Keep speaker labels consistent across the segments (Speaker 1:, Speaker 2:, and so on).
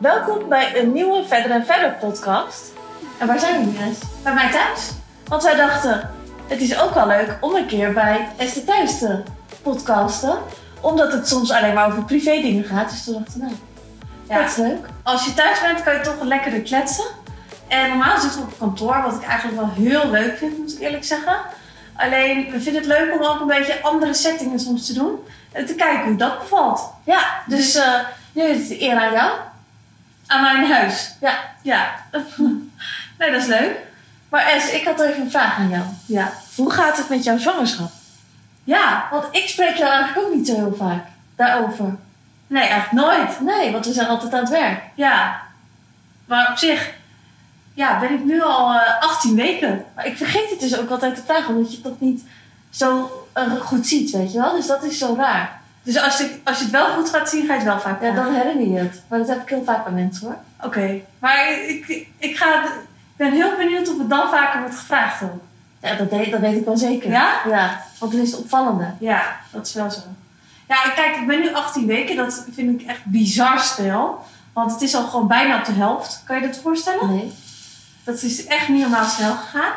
Speaker 1: Welkom bij een nieuwe Verder en Verder podcast. En waar zijn we, Ines?
Speaker 2: Bij mij thuis?
Speaker 1: Want wij dachten, het is ook wel leuk om een keer bij Esther Thijs te podcasten. Omdat het soms alleen maar over privé dingen gaat. Dus toen dachten we, nou,
Speaker 2: Ja.
Speaker 1: dat is leuk.
Speaker 2: Als je thuis bent, kan je toch lekker kletsen. En normaal zitten we op kantoor, wat ik eigenlijk wel heel leuk vind, moet ik eerlijk zeggen. Alleen, we vinden het leuk om ook een beetje andere settingen soms te doen. En te kijken hoe dat bevalt.
Speaker 1: Ja,
Speaker 2: Dus eh,
Speaker 1: nu is het de eer aan jou.
Speaker 2: aan mijn huis.
Speaker 1: Ja.
Speaker 2: Ja. nee, dat is leuk.
Speaker 1: Maar Es, ik had even een vraag aan jou.
Speaker 2: Ja.
Speaker 1: Hoe gaat het met jouw zwangerschap?
Speaker 2: Ja.
Speaker 1: Want ik spreek jou eigenlijk ook niet zo heel vaak daarover.
Speaker 2: Nee, echt nooit.
Speaker 1: Nee, want we zijn altijd aan het werk.
Speaker 2: Ja. Maar op zich, ja, ben ik nu al eh 18 weken.
Speaker 1: Maar ik vergeet het dus ook altijd te vragen, omdat je het toch niet zo eh, goed ziet, weet je wel? Dus dat is zo raar.
Speaker 2: Dus als je, als je het wel goed gaat zien, ga je het wel vaak
Speaker 1: Ja,
Speaker 2: vragen.
Speaker 1: dan herinner je het. Maar dat heb ik heel vaak bij mensen hoor.
Speaker 2: Oké, maar ik, ik, ik ga, ik ben heel benieuwd of het dan vaker wordt gevraagd dan.
Speaker 1: Ja, dat, deed, dat weet ik wel zeker.
Speaker 2: Ja?
Speaker 1: Ja, want het is het opvallende.
Speaker 2: Ja, dat is wel zo. Ja, ik- kijk, ik ben nu 18 weken. Dat vind ik echt bizar snel. Want het is al gewoon bijna op de helft. Kan je dat voorstellen?
Speaker 1: Nee.
Speaker 2: Dat is echt niet normaal snel gegaan.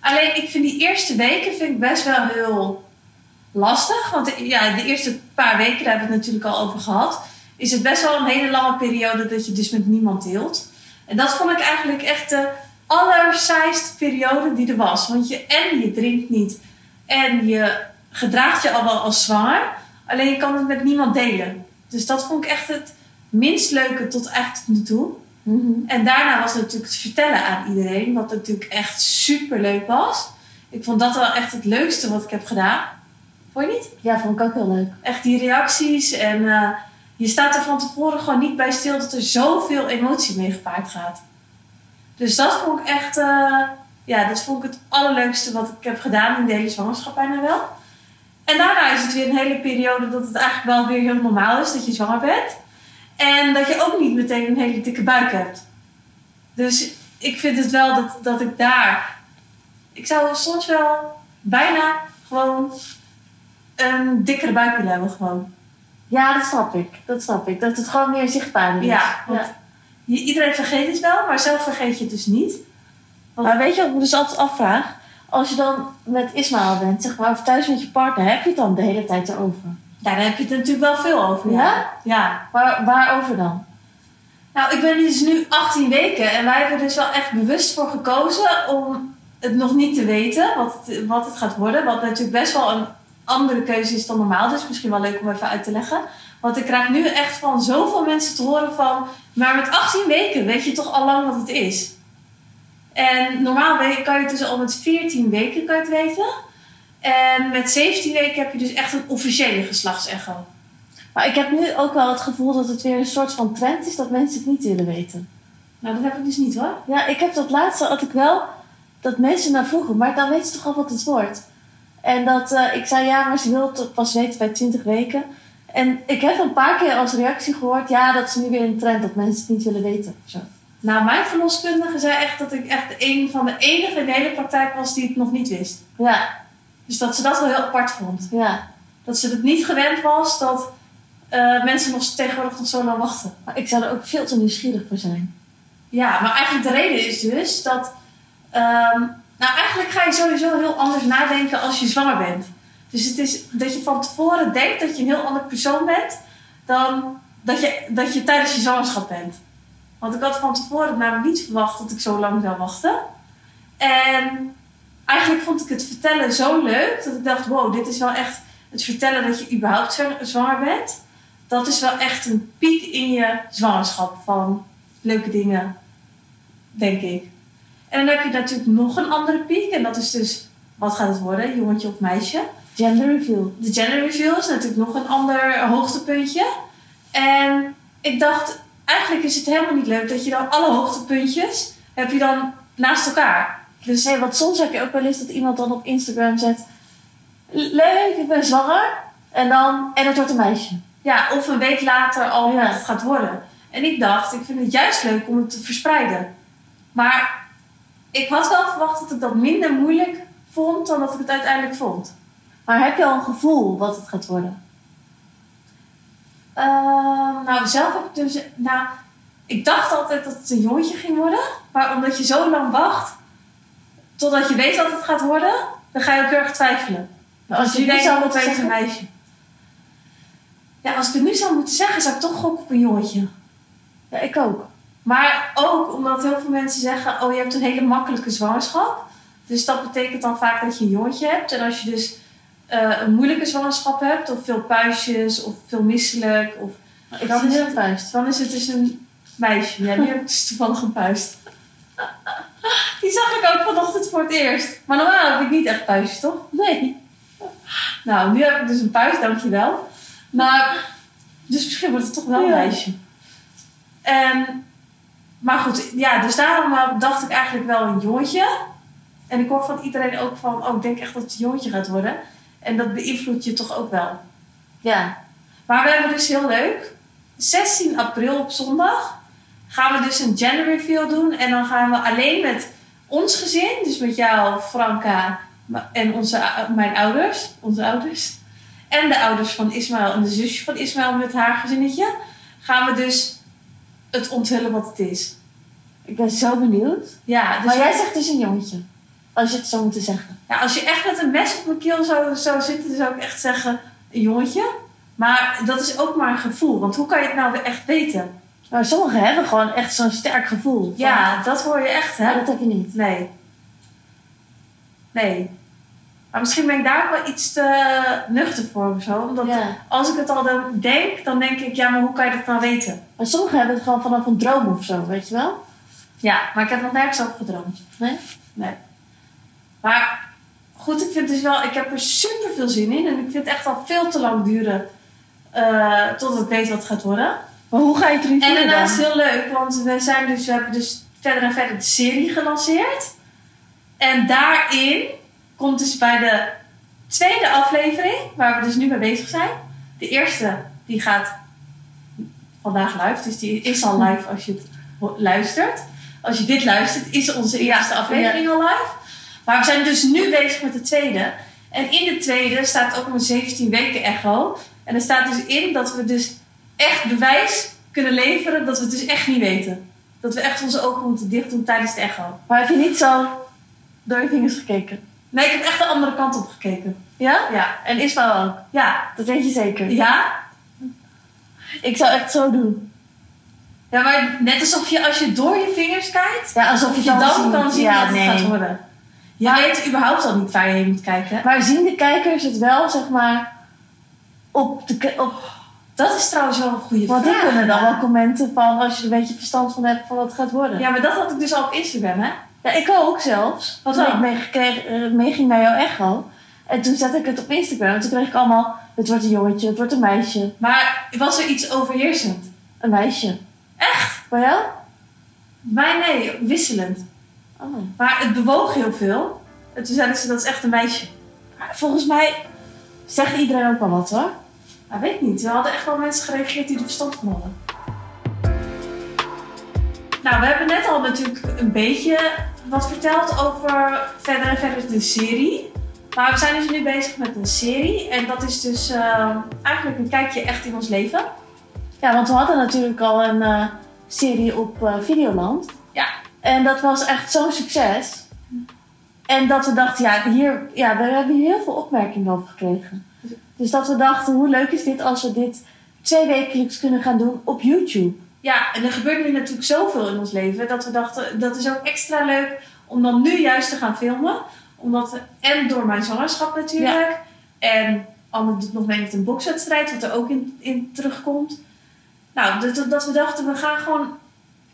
Speaker 2: Alleen, ik vind die eerste weken vind ik best wel heel lastig. Want ja, de eerste paar weken, daar hebben we het natuurlijk al over gehad... is het best wel een hele lange periode dat je dus met niemand deelt. En dat vond ik eigenlijk echt de allersaaiste periode die er was. Want je, en je drinkt niet en je gedraagt je al wel als zwanger... alleen je kan het met niemand delen. Dus dat vond ik echt het minst leuke tot eigenlijk tot nu toe...
Speaker 1: Mhm.
Speaker 2: En daarna was het natuurlijk het vertellen aan iedereen, wat natuurlijk echt super leuk was. Ik vond dat wel echt het leukste wat ik heb gedaan. Vond je niet?
Speaker 1: Ja, vond ik ook heel leuk.
Speaker 2: Echt die reacties en eh, je staat er van tevoren gewoon niet bij stil dat er zoveel emotie mee gepaard gaat. Dus dat vond ik echt, eh, ja, dat vond ik het allerleukste wat ik heb gedaan in de hele zwangerschap bijna wel. En daarna is het weer een hele periode dat het eigenlijk wel weer heel normaal is dat je zwanger bent. En dat je ook niet meteen een hele dikke buik hebt. Dus ik vind het wel dat, dat ik daar. Ik zou soms wel bijna gewoon een dikkere buik willen hebben. Gewoon.
Speaker 1: Ja, dat snap ik. Dat snap ik. Dat het gewoon meer zichtbaar is.
Speaker 2: Ja, want
Speaker 1: Ja.
Speaker 2: je- iedereen vergeet het wel, maar zelf vergeet je het dus niet.
Speaker 1: Maar weet je wat ik me dus altijd afvraag? Als je dan met Ismaël bent, zeg maar, of thuis met je partner, heb je het dan de hele tijd erover?
Speaker 2: Ja, daar heb je het natuurlijk wel veel over.
Speaker 1: Ja?
Speaker 2: Ja.
Speaker 1: Waar, waarover dan?
Speaker 2: Nou, ik ben dus nu 18 weken en wij hebben dus wel echt bewust voor gekozen om het nog niet te weten wat het, wat het gaat worden. Wat natuurlijk best wel een andere keuze is dan normaal, dus misschien wel leuk om even uit te leggen. Want ik krijg nu echt van zoveel mensen te horen van, maar met 18 weken weet je toch al lang wat het is. En normaal we- kan je het dus al met 14 weken kan je het weten. En met 17 weken heb je dus echt een officiële geslachtsecho.
Speaker 1: Maar ik heb nu ook wel het gevoel dat het weer een soort van trend is dat mensen het niet willen weten.
Speaker 2: Nou, dat heb ik dus niet hoor.
Speaker 1: Ja, ik heb dat laatste had ik wel dat mensen naar vroegen, maar dan weten ze toch al wat het wordt. En dat eh, ik zei ja, maar ze wil het pas weten bij 20 weken. En ik heb een paar keer als reactie gehoord, ja, dat is nu weer een trend dat mensen het niet willen weten. Zo.
Speaker 2: Nou, mijn verloskundige zei echt dat ik echt een van de enige in de hele praktijk was die het nog niet wist.
Speaker 1: Ja,
Speaker 2: Dus dat ze dat wel heel apart vond.
Speaker 1: ja.
Speaker 2: Dat ze het niet gewend was dat eh, mensen nog tegenwoordig nog zo lang wachten.
Speaker 1: Maar ik zou er ook veel te nieuwsgierig voor zijn.
Speaker 2: Ja, maar eigenlijk de reden is dus dat. ehm, nou, eigenlijk ga je sowieso heel anders nadenken als je zwanger bent. Dus het is dat je van tevoren denkt dat je een heel ander persoon bent dan dat je, dat je tijdens je zwangerschap bent. Want ik had van tevoren namelijk niet verwacht dat ik zo lang zou wachten. En eigenlijk vond ik het vertellen zo leuk dat ik dacht: wow, dit is wel echt het vertellen dat je überhaupt zwa- zwanger bent. Dat is wel echt een piek in je zwangerschap van leuke dingen, denk ik. En dan heb je natuurlijk nog een andere piek. En dat is dus, wat gaat het worden, jongetje of meisje?
Speaker 1: Gender reveal.
Speaker 2: De gender reveal is natuurlijk nog een ander hoogtepuntje. En ik dacht, eigenlijk is het helemaal niet leuk dat je dan alle hoogtepuntjes heb je dan naast elkaar.
Speaker 1: Dus nee, want soms heb je ook wel eens dat iemand dan op Instagram zet: Leuk, ik ben zwanger. En dan, en het wordt een meisje.
Speaker 2: Ja, of een week later al
Speaker 1: Ja.
Speaker 2: wat het gaat worden. En ik dacht, ik vind het juist leuk om het te verspreiden. Maar ik had wel verwacht dat ik dat minder moeilijk vond dan dat ik het uiteindelijk vond.
Speaker 1: Maar heb je al een gevoel wat het gaat worden?
Speaker 2: Ehm, nou, zelf heb ik dus. Nou, Ik dacht altijd dat het een jongetje ging worden. Maar omdat je zo lang wacht, totdat je weet wat het gaat worden, dan ga je ook heel erg twijfelen.
Speaker 1: Maar Nou, als
Speaker 2: Dus
Speaker 1: je
Speaker 2: je
Speaker 1: nu
Speaker 2: denkt,
Speaker 1: zou
Speaker 2: oh, het
Speaker 1: moeten
Speaker 2: is een
Speaker 1: zeggen...
Speaker 2: meisje. Ja, als ik het nu zou moeten zeggen, zou ik toch gokken op een jongetje.
Speaker 1: Ja, ik ook.
Speaker 2: Maar ook omdat heel veel mensen zeggen: Oh, je hebt een hele makkelijke zwangerschap. Dus dat betekent dan vaak dat je een jongetje hebt. En als je dus eh, een moeilijke zwangerschap hebt, of veel puistjes, of veel misselijk, of,
Speaker 1: Maar ik
Speaker 2: Dat
Speaker 1: had een
Speaker 2: is-
Speaker 1: heel vuist.
Speaker 2: dan is het dus een meisje. Ja, nu heb ik dus toevallig een puist. Die zag ik ook vanochtend voor het eerst. Maar normaal heb ik niet echt puistjes, toch?
Speaker 1: Nee.
Speaker 2: Nou, nu heb ik dus een puist, dankjewel. Maar, dus misschien wordt het toch wel een
Speaker 1: Ja.
Speaker 2: meisje. En, maar goed, ja, dus daarom eh, dacht ik eigenlijk wel een jongetje. En ik hoor van iedereen ook van, oh, ik denk echt dat het een jongetje gaat worden. En dat beïnvloedt je toch ook wel.
Speaker 1: Ja.
Speaker 2: Maar we hebben dus heel leuk. 16 april op zondag gaan we dus een gender reveal doen. En dan gaan we alleen met ons gezin, dus met jou, Franka en onze, mijn ouders, onze ouders. En de ouders van Ismaël en de zusje van Ismaël met haar gezinnetje. Gaan we dus het onthullen wat het is.
Speaker 1: Ik ben zo benieuwd.
Speaker 2: Ja, dus
Speaker 1: Maar jij zegt dus een jongetje. Als je het zou moeten zeggen.
Speaker 2: Ja, als je echt met een mes op mijn keel zou, zou zitten, zou ik echt zeggen, een jongetje. Maar dat is ook maar een gevoel, want hoe kan je het nou weer echt weten?
Speaker 1: Maar sommigen hebben gewoon echt zo'n sterk gevoel. van-
Speaker 2: Ja, dat hoor je echt, hè?
Speaker 1: Maar dat heb je niet.
Speaker 2: Nee. Nee. Maar misschien ben ik daar ook wel iets te nuchter voor of zo. Omdat
Speaker 1: Ja.
Speaker 2: als ik het al dan denk, dan denk ik, ja, maar hoe kan je dat nou weten?
Speaker 1: Maar sommigen hebben het gewoon vanaf een droom of zo, weet je wel?
Speaker 2: Ja, maar ik heb nog nergens over gedroomd.
Speaker 1: Nee?
Speaker 2: Nee. Maar goed, ik vind dus wel, ik heb er super veel zin in. En ik vind het echt al veel te lang duren eh, tot ik weet wat het gaat worden.
Speaker 1: Maar hoe ga je het erin
Speaker 2: En
Speaker 1: voelen
Speaker 2: daarnaast
Speaker 1: dan?
Speaker 2: heel leuk, want we, zijn dus, we hebben dus verder en verder de serie gelanceerd. En daarin komt dus bij de tweede aflevering, waar we dus nu mee bezig zijn. De eerste, die gaat vandaag live, dus die is al live als je het ho- luistert. Als je dit luistert, is onze eerste aflevering al live. Maar we zijn dus nu bezig met de tweede. En in de tweede staat ook een 17 weken echo. En er staat dus in dat we dus echt bewijs kunnen leveren dat we het dus echt niet weten. Dat we echt onze ogen moeten dicht doen tijdens de echo.
Speaker 1: Maar heb je niet zo door je vingers gekeken?
Speaker 2: Nee, ik heb echt de andere kant op gekeken.
Speaker 1: Ja?
Speaker 2: Ja,
Speaker 1: En Ismaël ook.
Speaker 2: ja,
Speaker 1: Dat weet je zeker.
Speaker 2: ja.
Speaker 1: Ik zou echt zo doen.
Speaker 2: Ja, maar net alsof je als je door je vingers kijkt,
Speaker 1: Ja, alsof je
Speaker 2: je dan kan zien
Speaker 1: ja,
Speaker 2: wat
Speaker 1: nee.
Speaker 2: het gaat worden. Je
Speaker 1: Maar-
Speaker 2: weet überhaupt al niet waar je heen moet kijken.
Speaker 1: Maar zien de kijkers het wel, zeg maar, op de... ke- Op,
Speaker 2: Dat is trouwens wel een goede
Speaker 1: want
Speaker 2: vraag.
Speaker 1: die kunnen dan wel commenten van, als je er een beetje verstand van hebt, van wat het gaat worden. Ja,
Speaker 2: Ja, maar dat had ik dus al op Instagram, hè?
Speaker 1: ik ook zelfs.
Speaker 2: Wat
Speaker 1: toen
Speaker 2: dan?
Speaker 1: ik meegekregen- eh, meeging naar jouw echo. En toen zette ik het op Instagram. En toen kreeg ik allemaal, het wordt een jongetje, het wordt een meisje.
Speaker 2: Maar was er iets overheersend?
Speaker 1: Een meisje. Echt? Bij jou?
Speaker 2: Mij nee, wisselend.
Speaker 1: Oh.
Speaker 2: Maar het bewoog heel veel. En toen zeiden ze, dat is echt een meisje.
Speaker 1: Maar Volgens mij zegt iedereen ook wel wat hoor.
Speaker 2: Ik Nou, weet niet. Er hadden echt wel mensen gereageerd die er verstand van hadden. Nou, we hebben net al natuurlijk een beetje wat verteld over verder en verder de serie. Maar we zijn dus nu bezig met een serie. En dat is dus eh, eigenlijk een kijkje echt in ons leven.
Speaker 1: Ja, want we hadden natuurlijk al een eh, serie op eh, Videoland.
Speaker 2: Ja.
Speaker 1: En dat was echt zo'n succes. En dat we dachten, ja, hier, ja, we hebben hier heel veel opmerkingen over gekregen. Dus dat we dachten, hoe leuk is dit als we dit twee wekelijks kunnen gaan doen op YouTube?
Speaker 2: Ja, en er gebeurt nu natuurlijk zoveel in ons leven dat we dachten dat is ook extra leuk om dan nu juist te gaan filmen. Omdat, en door mijn zwangerschap natuurlijk. En Anne doet nog mee met een bokswedstrijd, wat er ook in, in terugkomt. Nou, dat, dat- dat we dachten, we gaan gewoon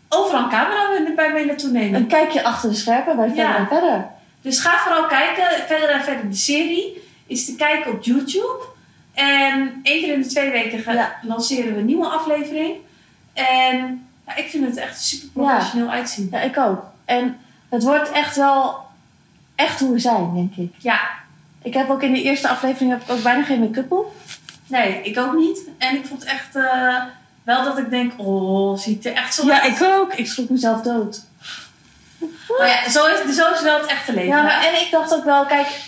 Speaker 2: overal een camera bij mee naartoe nemen.
Speaker 1: Een kijkje achter de scherpen bij verder
Speaker 2: Ja.
Speaker 1: en verder.
Speaker 2: Dus ga vooral kijken, verder en verder de serie is te kijken op YouTube. En één keer in de twee weken gaan-
Speaker 1: Ja.
Speaker 2: lanceren we een nieuwe aflevering. En ja, ik vind het echt super professioneel uitzien.
Speaker 1: Ja, ik ook. En het wordt echt wel echt hoe we zijn, denk ik.
Speaker 2: Ja,
Speaker 1: Ik heb ook in de eerste aflevering heb ik ook bijna geen make-up op.
Speaker 2: nee, ik ook niet. En ik vond echt eh, wel dat ik denk, oh, ziet er echt zo
Speaker 1: Ja,
Speaker 2: uit.
Speaker 1: ik ook. Ik schrok mezelf dood.
Speaker 2: Maar ja, zo is, zo is wel het echte leven.
Speaker 1: Ja, maar en ik dacht ook wel, kijk,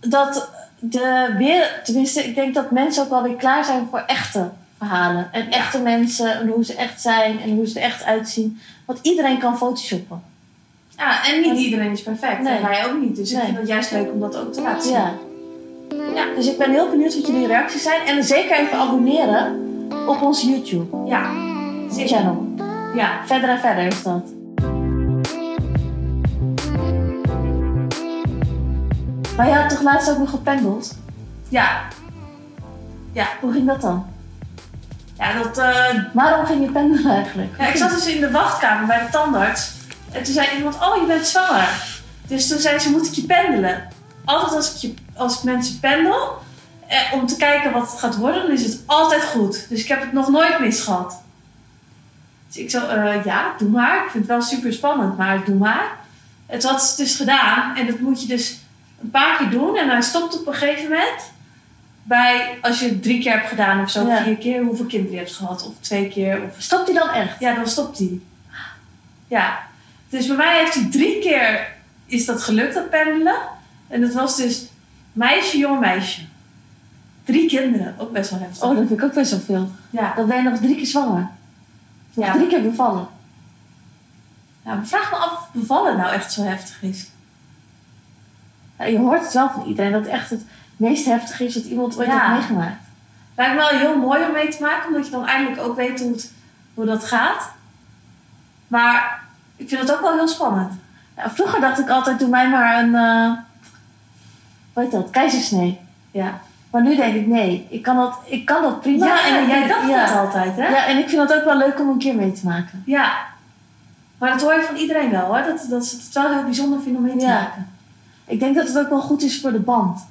Speaker 1: dat de wereld, tenminste, ik denk dat mensen ook wel weer klaar zijn voor echte. verhalen. En echte mensen en hoe ze echt zijn en hoe ze er echt uitzien. Want iedereen kan photoshoppen.
Speaker 2: Ja, en niet iedereen is perfect.
Speaker 1: Nee.
Speaker 2: En wij ook niet. Dus ik
Speaker 1: Nee.
Speaker 2: vind het juist leuk om dat ook te laten zien.
Speaker 1: Ja. ja. Dus ik ben heel benieuwd wat jullie reacties zijn. En zeker even abonneren op ons YouTube
Speaker 2: Ja, zeker.
Speaker 1: channel.
Speaker 2: Ja.
Speaker 1: Verder en verder is dat. Maar jij had toch laatst ook nog gependeld?
Speaker 2: Ja.
Speaker 1: Hoe ging dat dan?
Speaker 2: Ja, dat... eh,
Speaker 1: Waarom ging je pendelen eigenlijk?
Speaker 2: ja, ik zat dus in de wachtkamer bij de tandarts. En toen zei iemand, oh, je bent zwanger. Dus toen zei ze, moet ik je pendelen? Altijd als ik, je, als ik mensen pendel, eh, om te kijken wat het gaat worden, dan is het altijd goed. Dus ik heb het nog nooit misgehad. Dus ik zo, eh, ja, doe maar. Ik vind het wel super spannend, maar doe maar. Het had ze dus gedaan. En dat moet je dus een paar keer doen. En hij stopt op een gegeven moment. Bij, als je het drie keer hebt gedaan of zo,
Speaker 1: Ja.
Speaker 2: vier keer, hoeveel kinderen je hebt gehad. Of twee keer, of
Speaker 1: Stopt hij dan echt?
Speaker 2: ja, dan stopt hij. Ja. Dus bij mij heeft hij drie keer is dat gelukt, dat pendelen. En dat was dus meisje, jong meisje. Drie kinderen, ook best wel heftig.
Speaker 1: Oh, dat vind ik ook best wel veel.
Speaker 2: ja.
Speaker 1: Dan ben je nog drie keer zwanger. Of
Speaker 2: Ja.
Speaker 1: drie keer bevallen.
Speaker 2: ja, maar vraag me af of bevallen nou echt zo heftig is.
Speaker 1: Ja, je hoort het wel van iedereen dat echt het meest heftig is dat iemand ooit
Speaker 2: Ja.
Speaker 1: heeft meegemaakt.
Speaker 2: Lijkt me wel heel mooi om mee te maken, omdat je dan eindelijk ook weet hoe, het, hoe dat gaat. Maar ik vind het ook wel heel spannend.
Speaker 1: Ja, vroeger dacht ik altijd, doe mij maar een, eh hoe heet dat, keizersnee.
Speaker 2: Ja,
Speaker 1: Maar nu denk ik, nee, ik kan dat, ik kan dat prima.
Speaker 2: ja en jij dacht
Speaker 1: ja.
Speaker 2: dat altijd, hè?
Speaker 1: Ja, en ik vind dat ook wel leuk om een keer mee te maken.
Speaker 2: Ja. Maar dat hoor je van iedereen wel, hoor. Dat, dat ze het wel een heel bijzonder vinden om mee te
Speaker 1: Ja.
Speaker 2: maken.
Speaker 1: Ik denk dat het ook wel goed is voor de band.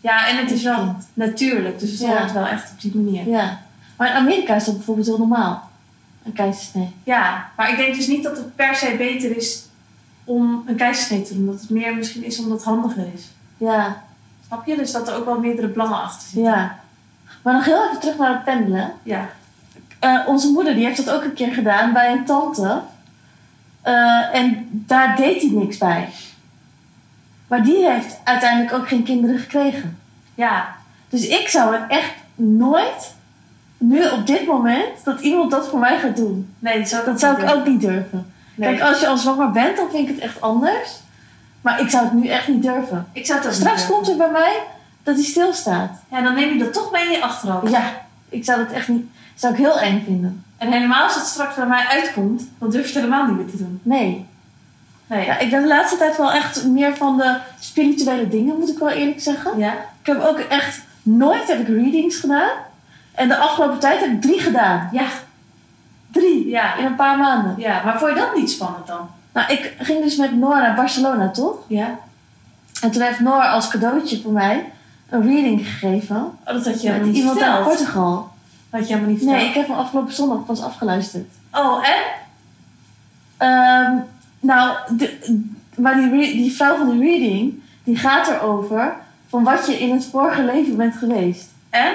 Speaker 2: Ja, en het is wel natuurlijk, dus het
Speaker 1: Ja.
Speaker 2: hoort wel echt op die manier.
Speaker 1: Ja. Maar in Amerika is dat bijvoorbeeld heel normaal. Een keizersnee.
Speaker 2: Ja, maar ik denk dus niet dat het per se beter is om een keizersnee te doen. Dat het meer misschien is omdat het handiger is.
Speaker 1: Ja,
Speaker 2: Snap je? Dus dat er ook wel meerdere plannen achter zitten.
Speaker 1: ja. Maar nog heel even terug naar het pendelen.
Speaker 2: Ja.
Speaker 1: Eh, onze moeder die heeft dat ook een keer gedaan bij een tante. Eh, en daar deed hij niks bij. Maar die heeft uiteindelijk ook geen kinderen gekregen.
Speaker 2: Ja.
Speaker 1: Dus ik zou het echt nooit, nu op dit moment, dat iemand dat voor mij gaat doen.
Speaker 2: Nee, dat zou ik,
Speaker 1: Dat zou ik
Speaker 2: niet
Speaker 1: ook niet durven.
Speaker 2: doen. Nee.
Speaker 1: Kijk, als je al zwanger bent, dan vind ik het echt anders. Maar ik zou het nu echt niet durven.
Speaker 2: ik zou het ook
Speaker 1: Straks
Speaker 2: niet
Speaker 1: komt er
Speaker 2: doen.
Speaker 1: bij mij dat hij stilstaat.
Speaker 2: Ja, dan neem je dat toch mee in je achterhoofd.
Speaker 1: Ja, ik zou dat echt niet, zou ik heel eng vinden.
Speaker 2: En helemaal als het straks bij mij uitkomt, dan durf je het helemaal niet meer te doen.
Speaker 1: Nee.
Speaker 2: Nee.
Speaker 1: Ja, ik ben de laatste tijd wel echt meer van de spirituele dingen, moet ik wel eerlijk zeggen.
Speaker 2: Ja?
Speaker 1: Ik heb ook echt nooit heb ik readings gedaan. En de afgelopen tijd heb ik drie gedaan.
Speaker 2: Ja.
Speaker 1: Drie
Speaker 2: Ja.
Speaker 1: in een paar maanden.
Speaker 2: Ja, maar vond je dat niet spannend dan?
Speaker 1: Nou, ik ging dus met Noor naar Barcelona, toch?
Speaker 2: Ja.
Speaker 1: En toen heeft Noor als cadeautje voor mij een reading gegeven.
Speaker 2: Oh, dat had je helemaal
Speaker 1: met
Speaker 2: niet
Speaker 1: iemand uit
Speaker 2: verteld.
Speaker 1: Portugal.
Speaker 2: Dat had je helemaal niet verteld.
Speaker 1: Nee, ik heb hem afgelopen zondag pas afgeluisterd.
Speaker 2: Oh, en?
Speaker 1: Ehm, nou, de, maar die, re- die vrouw van de reading, die gaat erover van wat je in het vorige leven bent geweest.
Speaker 2: En?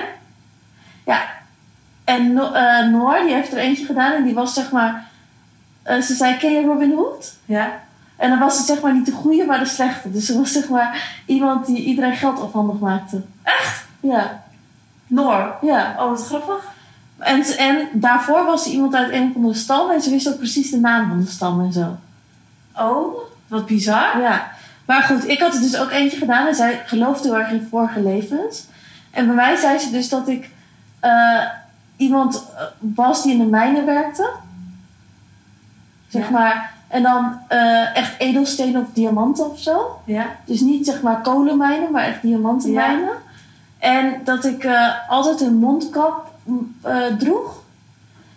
Speaker 1: En No- eh, Noor, die heeft er eentje gedaan en die was zeg maar... eh, ze zei, ken je Robin Hood?
Speaker 2: Ja.
Speaker 1: En dan was het zeg maar niet de goede, maar de slechte. Dus ze was zeg maar iemand die iedereen geld afhandig maakte. Echt? Ja,
Speaker 2: Noor.
Speaker 1: ja.
Speaker 2: Oh, wat grappig.
Speaker 1: En, ze- en daarvoor was ze iemand uit een of andere stam en ze wist ook precies de naam van de stam en zo.
Speaker 2: Oh, wat bizar.
Speaker 1: Ja. Maar goed, ik had er dus ook eentje gedaan en zij geloofde heel erg in vorige levens. En bij mij zei ze dus dat ik eh, iemand eh, was die in de mijnen werkte. Zeg
Speaker 2: Ja.
Speaker 1: maar. En dan eh, echt edelstenen of diamanten of zo.
Speaker 2: Ja.
Speaker 1: Dus niet zeg maar kolenmijnen, maar echt diamantenmijnen. En dat ik eh, altijd een mondkap m, eh, droeg.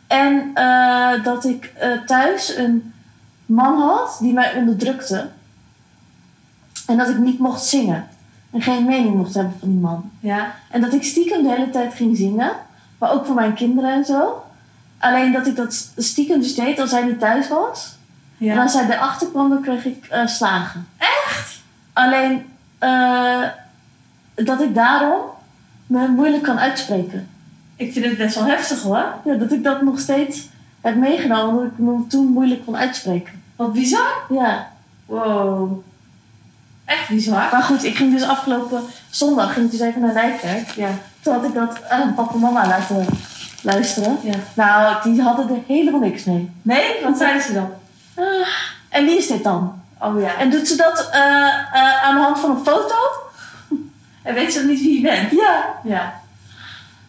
Speaker 1: En eh, dat ik eh, thuis een man had die mij onderdrukte. En dat ik niet mocht zingen. En geen mening mocht hebben van die man.
Speaker 2: Ja.
Speaker 1: En dat ik stiekem de hele tijd ging zingen. Maar ook voor mijn kinderen en zo. Alleen dat ik dat stiekem dus deed als hij niet thuis was. En
Speaker 2: Ja.
Speaker 1: als hij erachter kwam, dan kreeg ik eh, slagen. Echt? Alleen eh, dat ik daarom me moeilijk kan uitspreken.
Speaker 2: Ik vind het best wel heftig hoor.
Speaker 1: Ja, dat ik dat nog steeds heb meegenomen, omdat ik me toen moeilijk kon uitspreken.
Speaker 2: Wat bizar.
Speaker 1: Ja.
Speaker 2: Wow. Echt bizar.
Speaker 1: Maar goed, ik ging dus afgelopen zondag ging ik dus even naar Nijkerk.
Speaker 2: Ja.
Speaker 1: Toen had ik dat aan papa en mama laten luisteren.
Speaker 2: Ja.
Speaker 1: Nou, die hadden er helemaal niks mee. Ah,
Speaker 2: Nee? Wat zijn ze dan?
Speaker 1: En wie is dit dan?
Speaker 2: Oh ja. En,
Speaker 1: En doet ze dat eh, eh, aan de hand van een foto?
Speaker 2: en weet ze dan niet wie je bent?
Speaker 1: Ja.
Speaker 2: Ja.